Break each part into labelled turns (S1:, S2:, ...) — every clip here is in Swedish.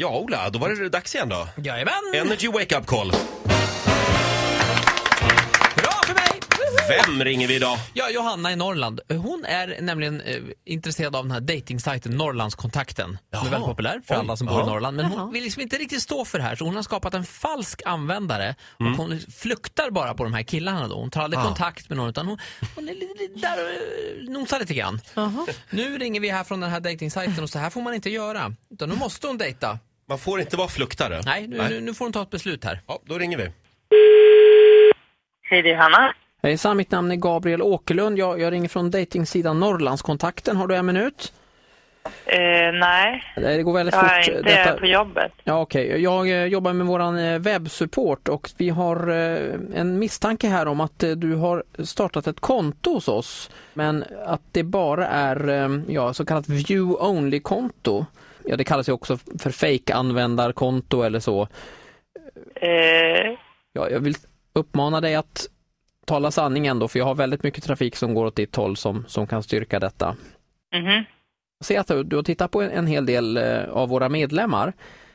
S1: Ja, Ola, då var det dags igen då.
S2: Jajamän!
S1: Energy Wake Up Call.
S2: Bra för mig!
S1: Vem ringer vi idag?
S2: Ja, Johanna i Norrland. Hon är nämligen eh, intresserad av den här datingsajten Norrlandskontakten. Som
S1: Jaha.
S2: är väldigt populär för
S1: Oj.
S2: alla som bor
S1: Jaha.
S2: i Norrland. Men
S3: Jaha.
S2: hon vill liksom inte riktigt stå för det här så hon har skapat en falsk användare. Och hon fluktar bara på de här killarna då. Hon tar aldrig
S1: Mm. Ah.
S2: kontakt med någon utan hon, hon är lite, lite där och eh, nosar lite grann.
S3: Jaha.
S2: Nu ringer vi här från den här datingsajten och så här får man inte göra. Utan nu måste hon dejta.
S1: Man får inte vara fluktare.
S2: Nej, nu, Nu, nu får hon ta ett beslut här.
S1: Ja, då ringer vi.
S4: Hej, det är Hanna.
S2: Hejsan, mitt namn är Gabriel Åkerlund. Jag, jag ringer från dejtingsidan Norrlandskontakten. Har du en minut?
S4: Eh, nej,
S2: Nej, Det går väldigt
S4: jag är
S2: fort.
S4: inte
S2: detta.
S4: på jobbet.
S2: Ja, okej. Jag eh, jobbar med vår webbsupport och vi har eh, en misstanke här om att eh, du har startat ett konto hos oss men att det bara är eh, ja, så kallat view only-konto. Ja, det kallas ju också för fake-användarkonto eller så.
S4: Eh,
S2: Ja, jag vill uppmana dig att tala sanningen då, för jag har väldigt mycket trafik som går åt ditt håll som, som kan styrka detta.
S4: mhm.
S2: Jag ser att du du har tittat på en, en hel del eh, av våra medlemmar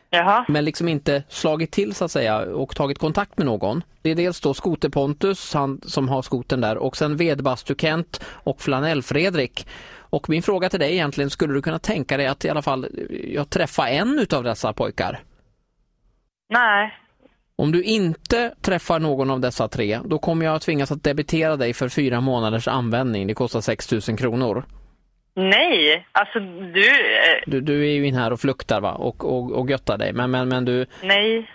S4: Jaha,
S2: men liksom inte slagit till så att säga och tagit kontakt med någon. Det är dels då Skoter Pontus, han som har skoten där, och sen Vedbastu-Kent och Flanell-Fredrik. Och min fråga till dig egentligen, skulle du kunna tänka dig att i alla fall eh, jag träffa en utav dessa pojkar?
S4: nej.
S2: Om du inte träffar någon av dessa tre, då kommer jag att tvingas att debitera dig för fyra månaders användning. Det kostar 6 000 kronor.
S4: Nej, alltså du... Eh,
S2: Du, du är ju in här och fluktar va? Och, och, och göttar dig, men, men, men du,
S4: nej,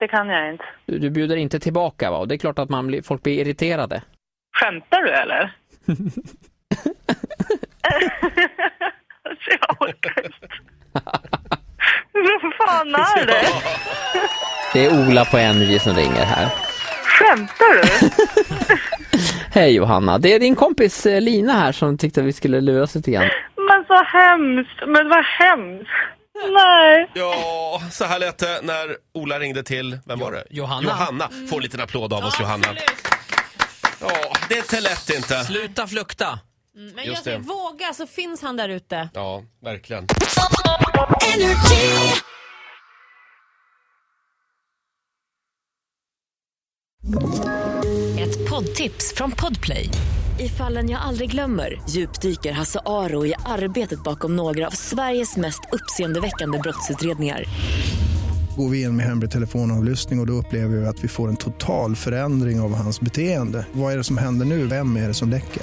S4: det kan jag inte.
S2: du, du bjuder inte tillbaka va? Och det är klart att man blir, folk blir irriterade.
S4: Skämtar du eller? alltså jag orkar inte. Vem fan är det?
S2: Det är Ola på NJ som ringer här.
S4: Skämtar du?
S2: Hej Johanna, det är din kompis eh, Lina här som tyckte vi skulle luras lite grann.
S4: Men så hemskt, men vad hemskt. Nej.
S1: Ja, så här lät det när Ola ringde till, vem var det?
S2: Johanna.
S1: Johanna. Får en liten applåd av oss, Johanna. Ja, det är inte lätt inte.
S2: Sluta flukta!
S3: Mm, Men
S1: Just
S3: jag säger
S1: det.
S3: våga så finns han där ute.
S1: Ja, verkligen.
S5: Ett poddtips från Podplay. I fallen jag aldrig glömmer djupdyker Hasse Aro i arbetet bakom några av Sveriges mest uppseendeväckande brottsutredningar.
S6: Går vi in med hemlig telefonavlyssning och, och då upplever vi att vi får en total förändring av hans beteende. Vad är det som händer nu? Vem är det som läcker?